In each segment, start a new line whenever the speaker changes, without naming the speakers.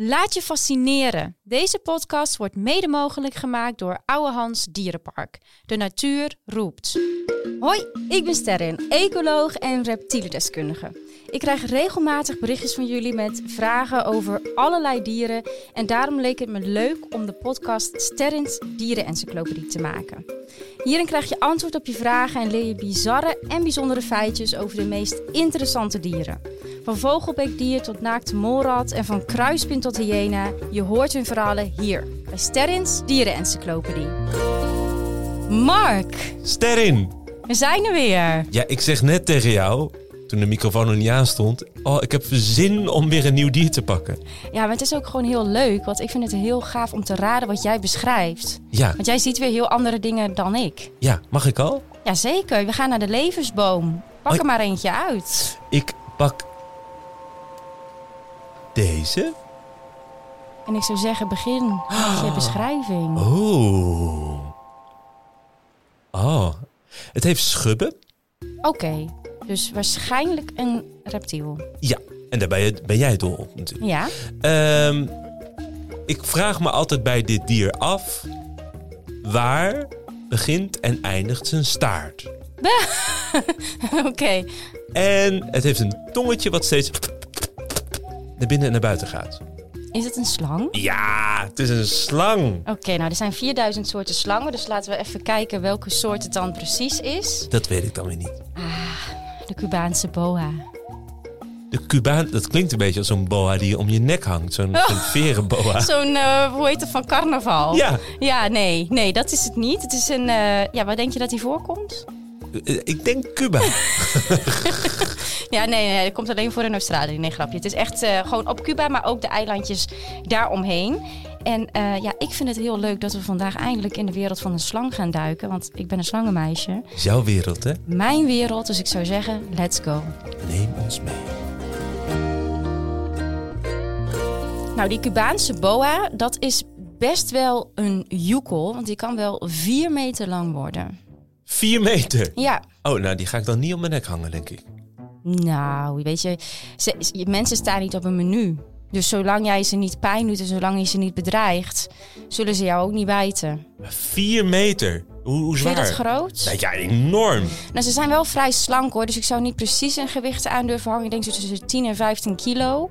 Laat je fascineren. Deze podcast wordt mede mogelijk gemaakt door Oude Hans Dierenpark. De natuur roept.
Hoi, ik ben Sterren, ecoloog en reptielendeskundige. Ik krijg regelmatig berichtjes van jullie met vragen over allerlei dieren. En daarom leek het me leuk om de podcast Sterrens Dierenencyclopedie te maken. Hierin krijg je antwoord op je vragen en leer je bizarre en bijzondere feitjes over de meest interessante dieren. Van vogelbeekdier tot naakte molrat en van kruispin tot hyena. Je hoort hun verhalen hier bij Sterrens Dierenencyclopedie. Mark,
Sterrin!
we zijn er weer.
Ja, ik zeg net tegen jou, toen de microfoon nog niet aan stond... Oh, ik heb zin om weer een nieuw dier te pakken.
Ja, maar het is ook gewoon heel leuk, want ik vind het heel gaaf om te raden wat jij beschrijft.
Ja,
Want jij ziet weer heel andere dingen dan ik.
ja, mag ik al?
Jazeker, we gaan naar de levensboom. Pak
Hoi.
er maar eentje uit.
Ik pak... Deze?
En ik zou zeggen, begin met je beschrijving.
Oh. Oh. Het heeft schubben.
Oké, dus waarschijnlijk een reptiel.
Ja, en daar ben, je, ben jij dol op natuurlijk.
Ja?
Ehm, ik vraag me altijd bij dit dier af... Waar begint en eindigt zijn staart?
Oké.
En het heeft een tongetje wat steeds naar binnen en naar buiten gaat.
Is het een slang? Oké,
Ja, het is een slang.
nou er zijn 4000 soorten slangen, dus laten we even kijken welke soort het dan precies is.
Dat weet ik dan weer niet.
De Cubaanse boa.
De Cubaan, dat klinkt een beetje als zo'n boa die om je nek hangt. Zo'n zo'n verenboa.
Zo'n, eh, hoe heet het, van carnaval?
Ja,
Ja, nee, nee, dat is het niet. Het is een. eh, ja, waar denk je dat hij voorkomt?
eh, ik denk Cuba.
Ja, nee, nee, dat komt alleen voor in Australië. Nee, grapje. Het is echt eh, gewoon op Cuba, maar ook de eilandjes daaromheen. En eh, ja, ik vind het heel leuk dat we vandaag eindelijk in de wereld van een slang gaan duiken. Want ik ben een slangenmeisje.
Jouw wereld, hè?
Mijn wereld, dus ik zou zeggen, let's go.
Neem ons mee.
Nou, die Cubaanse boa, dat is best wel een joekel. Want die kan wel vier meter lang worden.
Vier meter.
Ja,
Oh, nou, die ga ik dan niet om mijn nek hangen, denk ik.
Nou, weet je, ze- je- mensen staan niet op een menu. Dus zolang jij ze niet pijn doet en zolang je ze niet bedreigt, zullen ze jou ook niet bijten.
Maar Vier meter. Hoe, hoe
Vind je dat
zwaar?
groot?
Nou ja, enorm.
Nou, ze zijn wel vrij slank hoor, dus ik zou niet precies een gewicht aan durven hangen. Ik denk zo tussen de 10 en 15 kilo.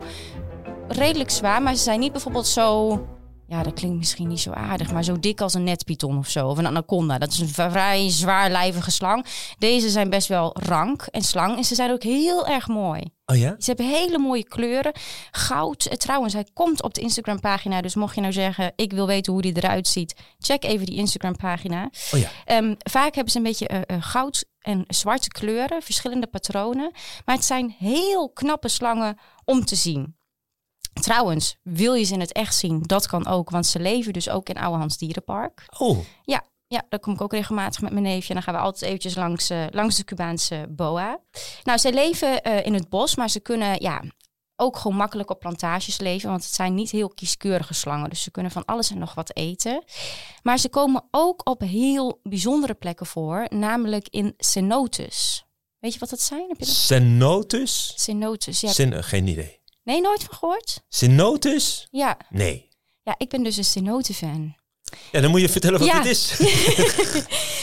Redelijk zwaar, maar ze zijn niet bijvoorbeeld zo... Ja, dat klinkt misschien niet zo aardig, maar zo dik als een netpython of zo. Of een anaconda. Dat is een vrij zwaarlijvige slang. Deze zijn best wel rank en slang. En ze zijn ook heel erg mooi.
Oh ja?
Ze hebben hele mooie kleuren. Goud. Eh, Trouwens, hij komt op de Instagram pagina. Dus mocht je nou zeggen, ik wil weten hoe die eruit ziet. Check even die Instagram pagina.
Oh ja.
Ehm, vaak hebben ze een beetje eh, eh, goud en zwarte kleuren. Verschillende patronen. Maar het zijn heel knappe slangen om te zien. Trouwens, wil je ze in het echt zien? Dat kan ook, want ze leven dus ook in Ouwehands Dierenpark.
Oh,
Ja, ja, daar kom ik ook regelmatig met mijn neefje. En dan gaan we altijd eventjes langs, eh, langs de Cubaanse boa. Nou, zij leven eh, in het bos, maar ze kunnen ja, ook gewoon makkelijk op plantages leven. Want het zijn niet heel kieskeurige slangen. Dus ze kunnen van alles en nog wat eten. Maar ze komen ook op heel bijzondere plekken voor. Namelijk in cenotes. Weet je wat dat zijn? Heb je dat?
cenotus?
Cenotes. Ja.
Cen- geen idee.
Nee, nooit van gehoord?
Cenotus?
Ja.
Nee.
ja, ik ben dus een cenote-fan.
Ja, dan moet je vertellen wat
Ja.
dit is.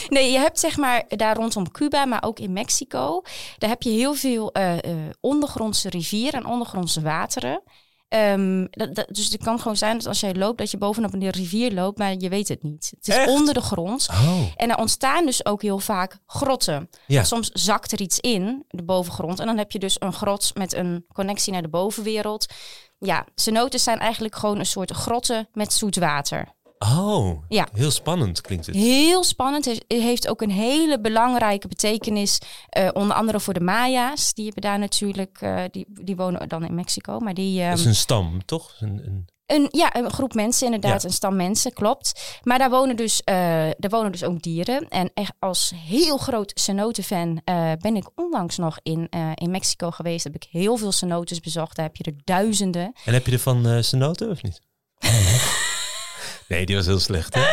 Nee, je hebt zeg maar daar rondom Cuba, maar ook in Mexico, daar heb je heel veel eh, eh, ondergrondse rivieren en ondergrondse wateren. Ehm, dat, dat- dus het kan gewoon zijn dat als jij loopt, dat je bovenop een rivier loopt, maar je weet het niet. Het is
Echt?
onder de grond.
Oh,
En er ontstaan dus ook heel vaak grotten.
Ja.
Soms zakt er iets in, de bovengrond. En dan heb je dus een grot met een connectie naar de bovenwereld. Ja, cenotes zijn eigenlijk gewoon een soort grotten met zoet water.
oh.
Ja.
heel spannend klinkt het.
Heel spannend. Het heeft ook een hele belangrijke betekenis. eh, onder andere voor de Maya's. Die hebben daar natuurlijk. eh, die, die wonen dan in Mexico. Maar die. ehm,
Dat is een stam, toch? Een, een...
een, ja, een groep mensen, inderdaad.
Ja.
Een stam mensen, klopt. Maar daar wonen dus, eh, daar wonen dus ook dieren. En echt als heel groot cenote-fan eh, ben ik onlangs nog in, eh, in Mexico geweest. Heb ik heel veel cenotes bezocht. Daar heb je er duizenden.
En heb je ervan eh cenoten of niet? Nee, die was heel slecht. Hè?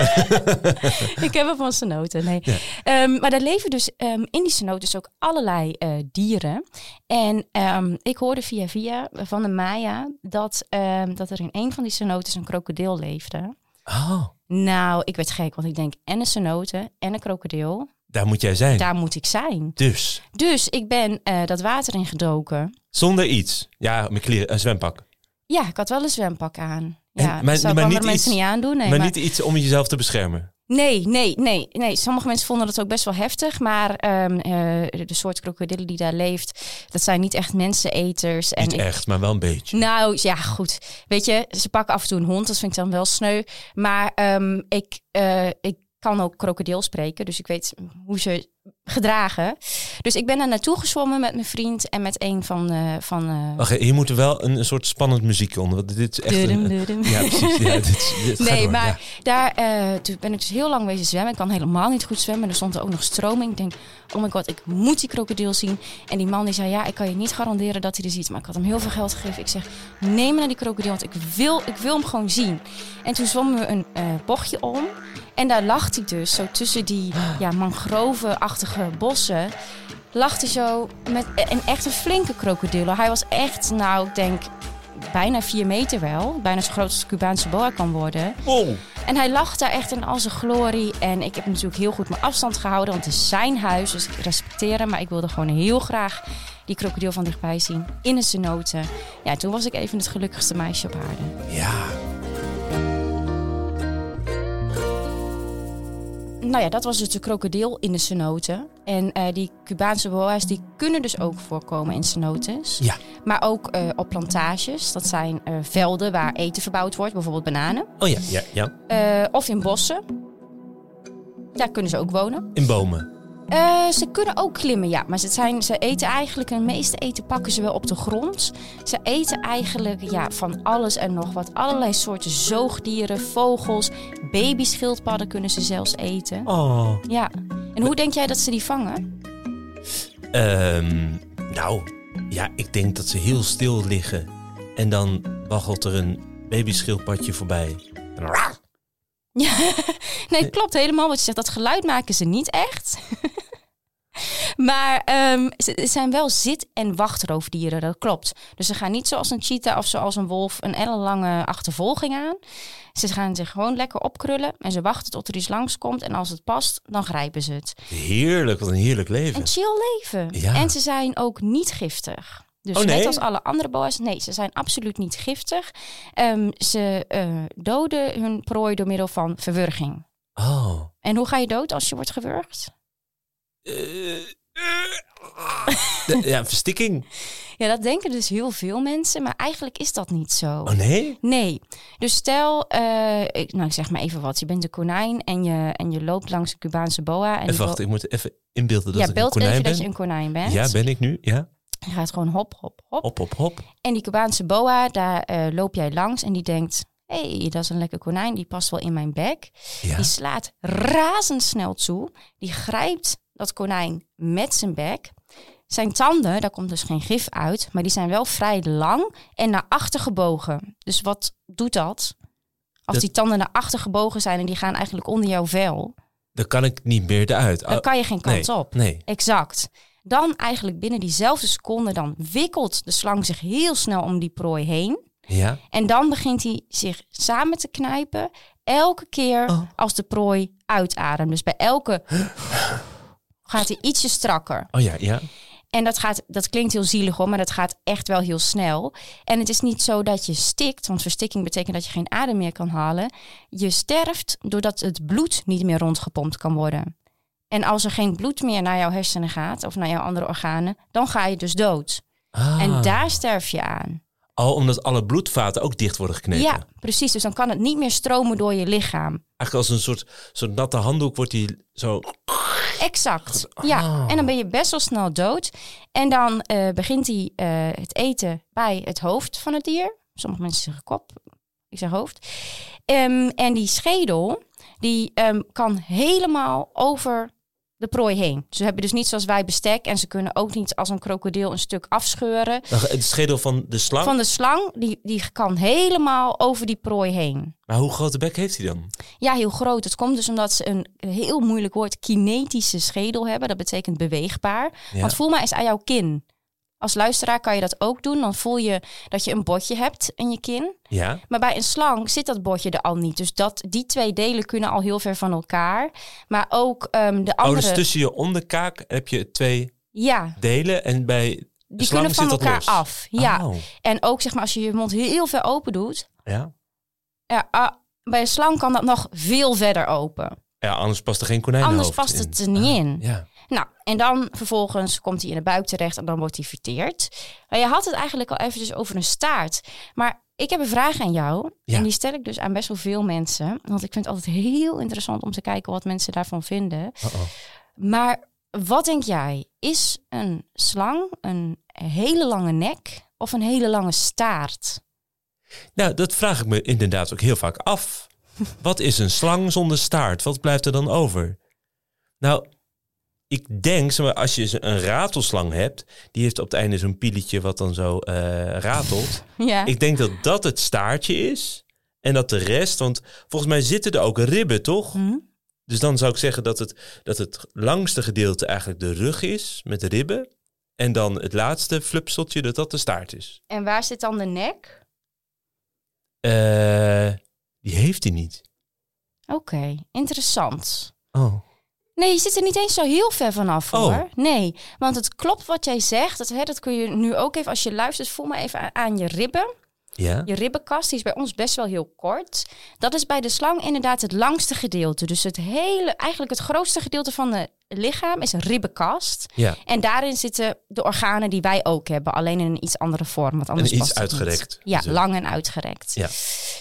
Ik heb hem van cenoten, nee. Ehm, maar daar leven dus ehm, in die cenotes ook allerlei eh, dieren. En ehm, ik hoorde via via van de Maya dat, ehm, dat er in een van die cenotes een krokodil leefde.
Oh,
Nou, ik werd gek, want ik denk en een cenote en een krokodil,
daar moet jij zijn.
daar moet ik zijn.
Dus,
Dus ik ben eh, dat water ingedoken.
zonder iets. Ja, mijn kleren, een zwempak.
Ja, ik had wel een zwempak aan. Ja, dus
En- maar-
dat zou ik
maar
andere
niet
mensen
iets-
niet aandoen. Nee,
maar
maar-
niet iets om jezelf te beschermen.
Nee, nee, nee, nee. Sommige mensen vonden dat ook best wel heftig. Maar ehm, eh, de soort krokodillen die daar leeft, dat zijn niet echt menseneters. En
Niet
ik-
echt, maar wel een beetje.
nou ja, goed. Weet je, ze pakken af en toe een hond. Dat vind ik dan wel sneu. Maar ehm, ik, eh, ik kan ook krokodil spreken. Dus ik weet hoe ze gedragen. Dus ik ben daar naartoe gezwommen met mijn vriend en met een van. eh, van eh,
Wacht, hier moet er wel een, een soort spannend muziek onder. Want dit is echt een-
dudum,
een,
dudum.
Ja, precies. Ja, dit, is- dit gaat
Nee,
door,
maar
ja.
daar eh, toen ben ik dus heel lang wezen zwemmen. Ik kan helemaal niet goed zwemmen. Er stond er ook nog stroming. Ik denk, oh my god, ik moet die krokodil zien. En die man die zei, ja, ik kan je niet garanderen dat hij er ziet. Maar ik had hem heel veel geld gegeven. Ik zeg, neem me naar die krokodil, want ik wil, ik wil hem gewoon zien. En toen zwommen we een eh, bochtje om. En daar lag hij dus, zo tussen die ja, mangrovenachtige bossen. Lag hij zo met e-, een echt een flinke krokodil. Hij was echt, nou, ik denk bijna vier meter wel. Bijna zo groot als de Cubaanse boa kan worden.
Oh,
En hij lag daar echt in al zijn glorie. En ik heb natuurlijk heel goed mijn afstand gehouden, want het is zijn huis. Dus ik respecteer hem, maar ik wilde gewoon heel graag die krokodil van dichtbij zien. In een cenote. Ja, toen was ik even het gelukkigste meisje op aarde.
ja.
Nou ja, dat was dus de krokodil in de cenote. En eh, die Cubaanse boa's, die kunnen dus ook voorkomen in cenotes.
Ja.
Maar ook eh, op plantages. Dat zijn eh, velden waar eten verbouwd wordt, bijvoorbeeld bananen.
Oh ja, ja, ja.
Eh, of in bossen. Daar kunnen ze ook wonen.
In bomen.
Eh, ze kunnen ook klimmen, ja. Maar ze, zijn, ze eten eigenlijk, hun meeste eten pakken ze wel op de grond. Ze eten eigenlijk ja, van alles en nog wat. Allerlei soorten zoogdieren, vogels, babyschildpadden kunnen ze zelfs eten.
Oh.
Ja. En hoe denk jij dat ze die vangen?
Ehm, nou, ja, ik denk dat ze heel stil liggen. En dan waggelt er een babyschildpadje voorbij. En dan raar.
Ja. Nee, klopt helemaal wat je zegt. Dat geluid maken ze niet echt. Maar ehm, ze het zijn wel zit- en wachtroofdieren, dat klopt. Dus ze gaan niet zoals een cheetah of zoals een wolf een ellenlange achtervolging aan. Ze gaan zich gewoon lekker opkrullen en ze wachten tot er iets langskomt. En als het past, dan grijpen ze het.
Heerlijk, wat een heerlijk leven.
Een chill leven.
Ja.
En ze zijn ook niet giftig. Dus
Oh, nee?
net als alle andere boa's, nee, ze zijn absoluut niet giftig. Ehm, ze eh, doden hun prooi door middel van verwurging.
Oh.
En hoe ga je dood als je wordt gewurgd?
Eh, eh, ah. De- ja, verstikking.
Ja, dat denken dus heel veel mensen, maar eigenlijk is dat niet zo.
Oh nee?
Nee. Dus stel, eh, ik, nou ik zeg maar even wat, je bent een konijn en je, en je loopt langs een Cubaanse boa. En die
Even
bo-
wacht, ik moet even inbeelden dat
ja,
ik een
belt even
konijn
dat
ben.
je een konijn bent.
Ja, ben ik nu? Ja.
Je gaat gewoon hop, hop, hop.
Hop, hop, hop.
En die Cubaanse boa, daar eh, loop jij langs en die denkt, hé, hey, dat is een lekker konijn, die past wel in mijn bek.
Ja.
Die slaat razendsnel toe. Die grijpt dat konijn met zijn bek. Zijn tanden, daar komt dus geen gif uit, maar die zijn wel vrij lang en naar achter gebogen. Dus wat doet dat? Als
Dat-
die tanden naar achter gebogen zijn en die gaan eigenlijk onder jouw vel,
Dan kan ik niet meer eruit.
dan
Ah,
kan je geen kant
nee,
op.
Nee.
Exact. Dan eigenlijk binnen diezelfde seconde, dan wikkelt de slang zich heel snel om die prooi heen.
Ja.
En dan begint hij zich samen te knijpen. Elke keer
Oh.
als de prooi uitademt. Dus bij elke gaat hij ietsje strakker.
Oh ja, ja.
En dat, gaat, dat klinkt heel zielig hoor, maar dat gaat echt wel heel snel. En het is niet zo dat je stikt, want verstikking betekent dat je geen adem meer kan halen. Je sterft doordat het bloed niet meer rondgepompt kan worden. En als er geen bloed meer naar jouw hersenen gaat of naar jouw andere organen, dan ga je dus dood.
Ah.
En daar sterf je aan.
Al omdat alle bloedvaten ook dicht worden geknepen.
Ja, precies. Dus dan kan het niet meer stromen door je lichaam.
Eigenlijk als een soort, soort natte handdoek wordt die zo...
Exact. Ja, en dan ben je best wel snel dood. En dan eh, begint hij eh, het eten bij het hoofd van het dier. Sommige mensen zeggen kop, ik zeg hoofd. Ehm, en die schedel, die ehm, kan helemaal over de prooi heen. Ze hebben dus niet zoals wij bestek en ze kunnen ook niet als een krokodil een stuk afscheuren.
Het schedel van de slang.
Van de slang, die, die kan helemaal over die prooi heen.
Maar hoe grote bek heeft hij dan?
Ja, heel groot. Het komt dus omdat ze een heel moeilijk woord kinetische schedel hebben. Dat betekent beweegbaar.
Ja.
Want voel maar eens aan jouw kin. Als luisteraar kan je dat ook doen. Dan voel je dat je een botje hebt in je kin.
ja.
Maar bij een slang zit dat botje er al niet. Dus dat, die twee delen kunnen al heel ver van elkaar. Maar ook ehm, de
Oh,
andere...
dus tussen je onderkaak heb je twee
Ja,
delen en bij
die
slang
kunnen van
zit dat
elkaar
los.
af. Ja.
Oh,
En ook zeg maar als je je mond heel ver open doet.
ja.
Ja, ah, bij een slang kan dat nog veel verder open.
Ja, anders past er geen konijnenhoofd
Anders past het
in. Ah.
er niet in.
Ja.
Nou, en dan vervolgens komt hij in de buik terecht en dan wordt hij verteerd. Nou, je had het eigenlijk al eventjes over een staart. Maar ik heb een vraag aan jou.
Ja.
En die stel ik dus aan best wel veel mensen. Want ik vind het altijd heel interessant om te kijken wat mensen daarvan vinden.
Uh-oh.
Maar wat denk jij? Is een slang een hele lange nek of een hele lange staart?
Nou, dat vraag ik me inderdaad ook heel vaak af. Wat is een slang zonder staart? Wat blijft er dan over? Nou, ik denk, zeg maar, als je een ratelslang hebt, die heeft op het einde zo'n pieletje wat dan zo eh, ratelt.
Ja.
Ik denk dat dat het staartje is. En dat de rest, want volgens mij zitten er ook ribben, toch?
Hm?
Dus dan zou ik zeggen dat het, dat het langste gedeelte eigenlijk de rug is, met ribben. En dan het laatste flupseltje, dat dat de staart is.
En waar zit dan de nek?
Eh, die heeft hij niet.
Oké, interessant.
Oh.
Nee, je zit er niet eens zo heel ver vanaf
Oh.
hoor. Nee, want het klopt wat jij zegt. Dat, hè, dat kun je nu ook even, als je luistert, voel maar even aan, aan je ribben.
Ja?
Je ribbenkast die is bij ons best wel heel kort. Dat is bij de slang inderdaad het langste gedeelte. Dus het hele, eigenlijk het grootste gedeelte van het lichaam is een ribbenkast.
Ja.
En daarin zitten de organen die wij ook hebben, alleen in een iets andere vorm. Want anders
En iets
past het niet.
uitgerekt.
Ja,
Dus, eh,
lang en uitgerekt.
Ja.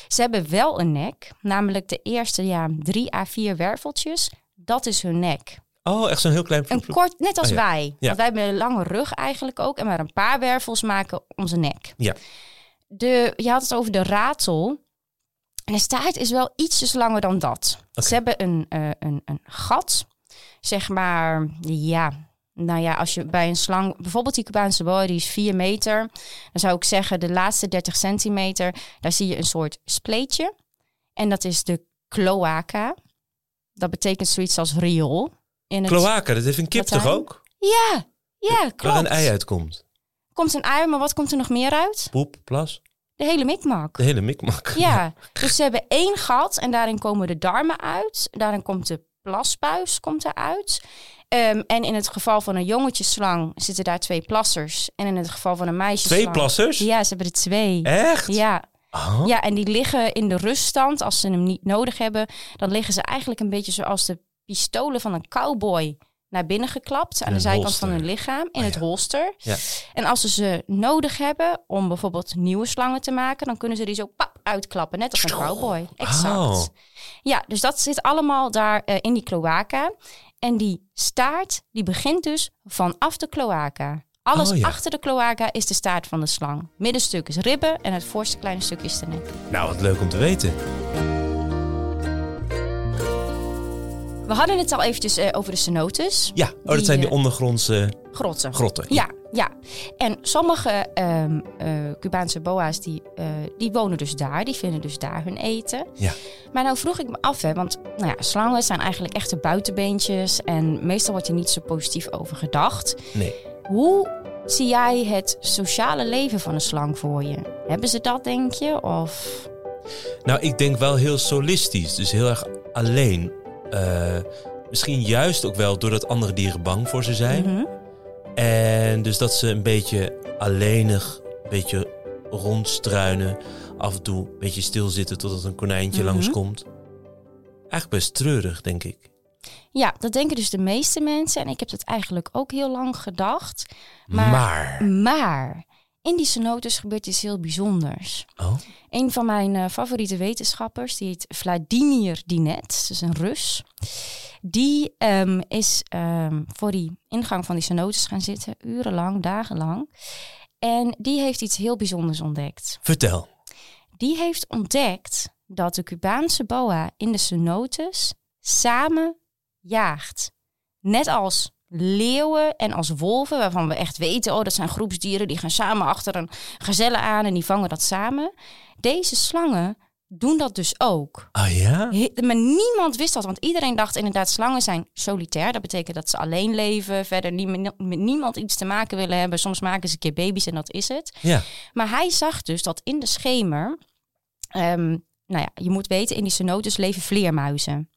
Ze hebben wel een nek, namelijk de eerste ja, drie à vier werveltjes. Dat is hun nek.
Oh, echt zo'n heel klein
Een
vloep, vloep.
kort, net als
Oh ja.
wij. Want wij hebben een lange rug eigenlijk ook. En maar een paar wervels maken onze nek.
Ja.
De, je had het over de ratel. En de staart is wel ietsjes langer dan dat.
Oké.
Ze hebben een, eh, een, een gat. Zeg maar, ja... Nou ja, als je bij een slang... Bijvoorbeeld die Cubaanse boa, die is 4 meter. Dan zou ik zeggen, de laatste 30 centimeter... daar zie je een soort spleetje. En dat is de cloaca. Dat betekent zoiets als riool. In het,
Kloaken, dat heeft een kip toch
Latijn?
ook?
ja, ja, klopt.
Waar een ei uitkomt.
Komt een ui, maar wat komt er nog meer uit?
Poep, plas,
De hele mikmak.
de hele mikmak.
Ja, dus ze hebben één gat en daarin komen de darmen uit. Daarin komt de plasbuis komt eruit. Ehm, en in het geval van een jongetjeslang zitten daar twee plassers. En in het geval van een meisjeslang...
Twee plassers?
Ja, ze hebben er twee.
Echt?
Ja,
Oh.
ja, en die liggen in de ruststand. Als ze hem niet nodig hebben, dan liggen ze eigenlijk een beetje zoals de pistolen van een cowboy naar binnen geklapt aan
In
de
een
zijkant
holster.
van hun lichaam in
Ah,
het
ja.
holster.
Ja.
En als ze ze nodig hebben om bijvoorbeeld nieuwe slangen te maken, dan kunnen ze die zo pap uitklappen, net als een cowboy. Exact.
Oh.
Ja, dus dat zit allemaal daar eh, in die cloaca. En die staart, die begint dus vanaf de cloaca. Alles
Oh, ja.
achter de cloaca is de staart van de slang. Middenstuk is ribben en het voorste kleine stuk is de nek.
Nou, wat leuk om te weten.
We hadden het al eventjes eh, over de cenotes,
Ja, oh, dat
Die,
zijn die
eh,
ondergrondse
grotten.
grotten.
ja, ja. En sommige ehm, eh, Cubaanse boa's die, eh, die wonen dus daar, die vinden dus daar hun eten.
Ja.
Maar nou vroeg ik me af, hè, want nou ja, slangen zijn eigenlijk echte buitenbeentjes en meestal wordt er niet zo positief over gedacht.
Nee.
Hoe zie jij het sociale leven van een slang voor je? Hebben ze dat, denk je? Of
Nou, ik denk wel heel solistisch. Dus heel erg alleen. Eh, misschien juist ook wel doordat andere dieren bang voor ze zijn.
Mhm.
En dus dat ze een beetje alleenig, een beetje rondstruinen. Af en toe een beetje stilzitten totdat een konijntje
Mhm.
langskomt. Eigenlijk best treurig, denk ik.
Ja, dat denken dus de meeste mensen. En ik heb dat eigenlijk ook heel lang gedacht.
Maar.
Maar- Maar in die cenotes gebeurt iets heel bijzonders.
Oh,
Een van mijn eh, favoriete wetenschappers, die heet Vladimir Dinet, dus een Rus. Die ehm, is ehm, voor die ingang van die cenotes gaan zitten, urenlang, dagenlang. En die heeft iets heel bijzonders ontdekt.
vertel.
Die heeft ontdekt dat de Cubaanse boa in de cenotes samen jaagt. Net als leeuwen en als wolven, waarvan we echt weten, oh, dat zijn groepsdieren, die gaan samen achter een gazelle aan en die vangen dat samen. Deze slangen doen dat dus ook.
Ah ja?
He- Maar niemand wist dat, want iedereen dacht inderdaad, slangen zijn solitair. Dat betekent dat ze alleen leven, verder nie- met niemand iets te maken willen hebben. Soms maken ze een keer baby's en dat is het.
Ja.
Maar hij zag dus dat in de schemer, ehm, nou ja, je moet weten, in die cenotes leven vleermuizen.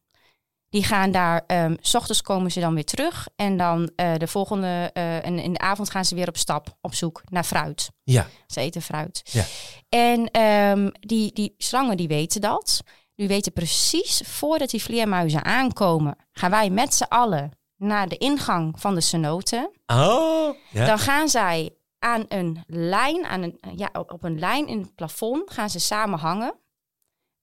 Die gaan daar, ehm, s ochtends komen ze dan weer terug en dan eh, de volgende, eh, en in de avond gaan ze weer op stap, op zoek naar fruit.
Ja.
Ze eten fruit.
Ja.
En ehm, die, die slangen die weten dat. Die weten precies voordat die vleermuizen aankomen, gaan wij met z'n allen naar de ingang van de cenoten.
Oh. Ja.
Dan gaan zij aan een lijn, aan een, ja, op op een lijn in het plafond, gaan ze samen hangen.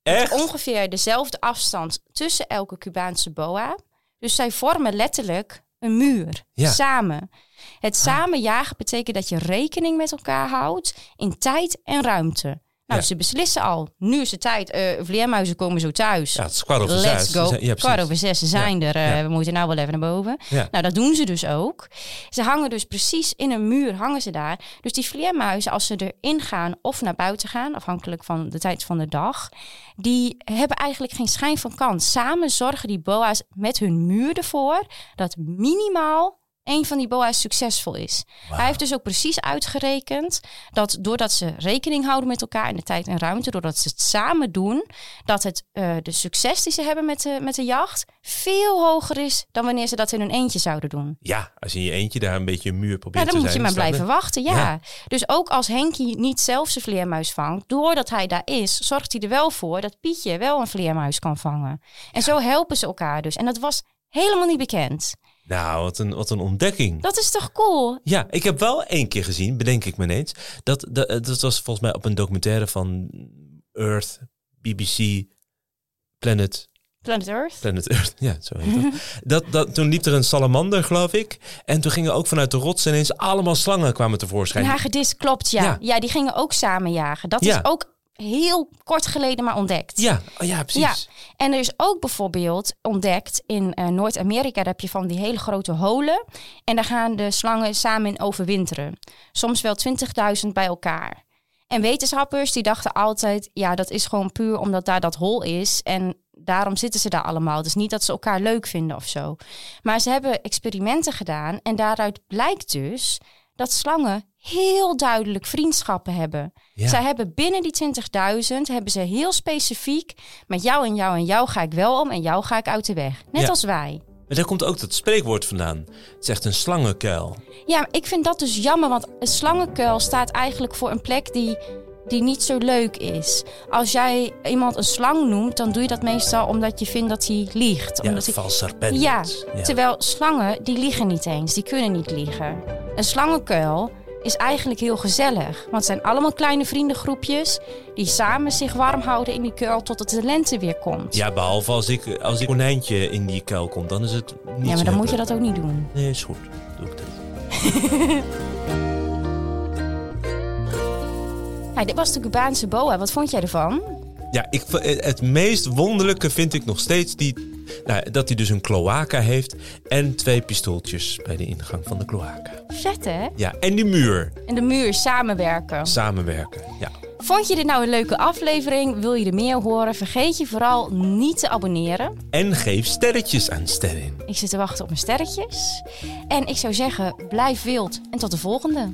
Echt?
Ongeveer dezelfde afstand tussen elke Cubaanse boa. Dus zij vormen letterlijk een muur.
Ja. Ah.
Samen. Het samen jagen betekent dat je rekening met elkaar houdt in tijd en ruimte. Nou,
Ja.
ze beslissen al. Nu is het tijd. eh, vleermuizen komen zo thuis.
Ja, het is kwart over zes.
Let's
Ze
go.
zijn- Ja,
Kwart
precies.
over zes ze zijn er. eh,
Ja.
We moeten nou wel even naar boven.
Ja.
Nou, dat doen ze dus ook. Ze hangen dus precies in een muur, hangen ze daar. Dus die vleermuizen, als ze erin gaan of naar buiten gaan, afhankelijk van de tijd van de dag, die hebben eigenlijk geen schijn van kans. Samen zorgen die boa's met hun muur ervoor dat minimaal een van die boa's succesvol is. Hij heeft dus ook precies uitgerekend dat doordat ze rekening houden met elkaar in de tijd en ruimte, doordat ze het samen doen, dat het, eh, de succes die ze hebben met de, met de jacht veel hoger is dan wanneer ze dat in hun eentje zouden doen.
Ja, als je in je eentje daar een beetje een muur probeert
Ja,
te
dan
zijn.
moet je maar
staat
blijven
er-
wachten, ja.
Ja.
Dus ook als Henkie niet zelf zijn vleermuis vangt, doordat hij daar is, zorgt hij er wel voor dat Pietje wel een vleermuis kan vangen. En zo helpen ze elkaar dus. En dat was helemaal niet bekend.
Nou, wat een, wat een ontdekking.
Dat is toch cool?
Ja, ik heb wel één keer gezien, bedenk ik me ineens. Dat, dat, dat was volgens mij op een documentaire van Earth, BBC, Planet,
Planet Earth?
Planet Earth. Ja, zo heet dat. dat, dat. Toen liep er een salamander, geloof ik. En toen gingen ook vanuit de rots ineens allemaal slangen kwamen tevoorschijn.
Een hagedis, klopt, ja.
Ja.
ja. die gingen ook samen jagen. Dat
Ja.
is ook heel kort geleden maar ontdekt.
Ja, oh, ja, precies.
Ja. En er is ook bijvoorbeeld ontdekt in eh, Noord-Amerika, daar heb je van die hele grote holen. En daar gaan de slangen samen in overwinteren. Soms wel 20.000 bij elkaar. En wetenschappers die dachten altijd, ja, dat is gewoon puur omdat daar dat hol is. En daarom zitten ze daar allemaal. Dus niet dat ze elkaar leuk vinden of zo. Maar ze hebben experimenten gedaan en daaruit blijkt dus dat slangen heel duidelijk vriendschappen hebben.
Ja.
Zij hebben binnen die 20.000 hebben ze heel specifiek met jou en jou en jou ga ik wel om en jou ga ik uit de weg. Net
Ja.
als wij.
Maar daar komt ook dat spreekwoord vandaan. Het is echt een slangenkuil.
Ja, maar ik vind dat dus jammer, want een slangenkuil staat eigenlijk voor een plek die, die niet zo leuk is. Als jij iemand een slang noemt, dan doe je dat meestal omdat je vindt dat hij liegt.
Ja,
omdat
een
hij-
vals serpent.
Ja, terwijl slangen, die liegen niet eens. Die kunnen niet liegen. Een slangenkuil is eigenlijk heel gezellig. Want het zijn allemaal kleine vriendengroepjes... die samen zich warm houden in die kuil totdat de lente weer komt.
Ja, behalve als ik, als ik konijntje in die kuil komt, dan is het niet
Ja, maar dan moet je
dat.
dat ook niet doen.
Nee, is goed. Doe ik dat.
Ja, dit was de Cubaanse boa. Wat vond jij ervan?
Ja, ik, v- eh, het meest wonderlijke vind ik nog steeds die, nou, dat hij dus een cloaca heeft en twee pistooltjes bij de ingang van de cloaca.
Vet, hè?
Ja, en die muur.
En de muur samenwerken.
Samenwerken. Ja.
Vond je dit nou een leuke aflevering? Wil je er meer horen? Vergeet je vooral niet te abonneren.
En geef sterretjes aan Sterren.
Ik zit te wachten op mijn sterretjes. En ik zou zeggen, blijf wild en tot de volgende.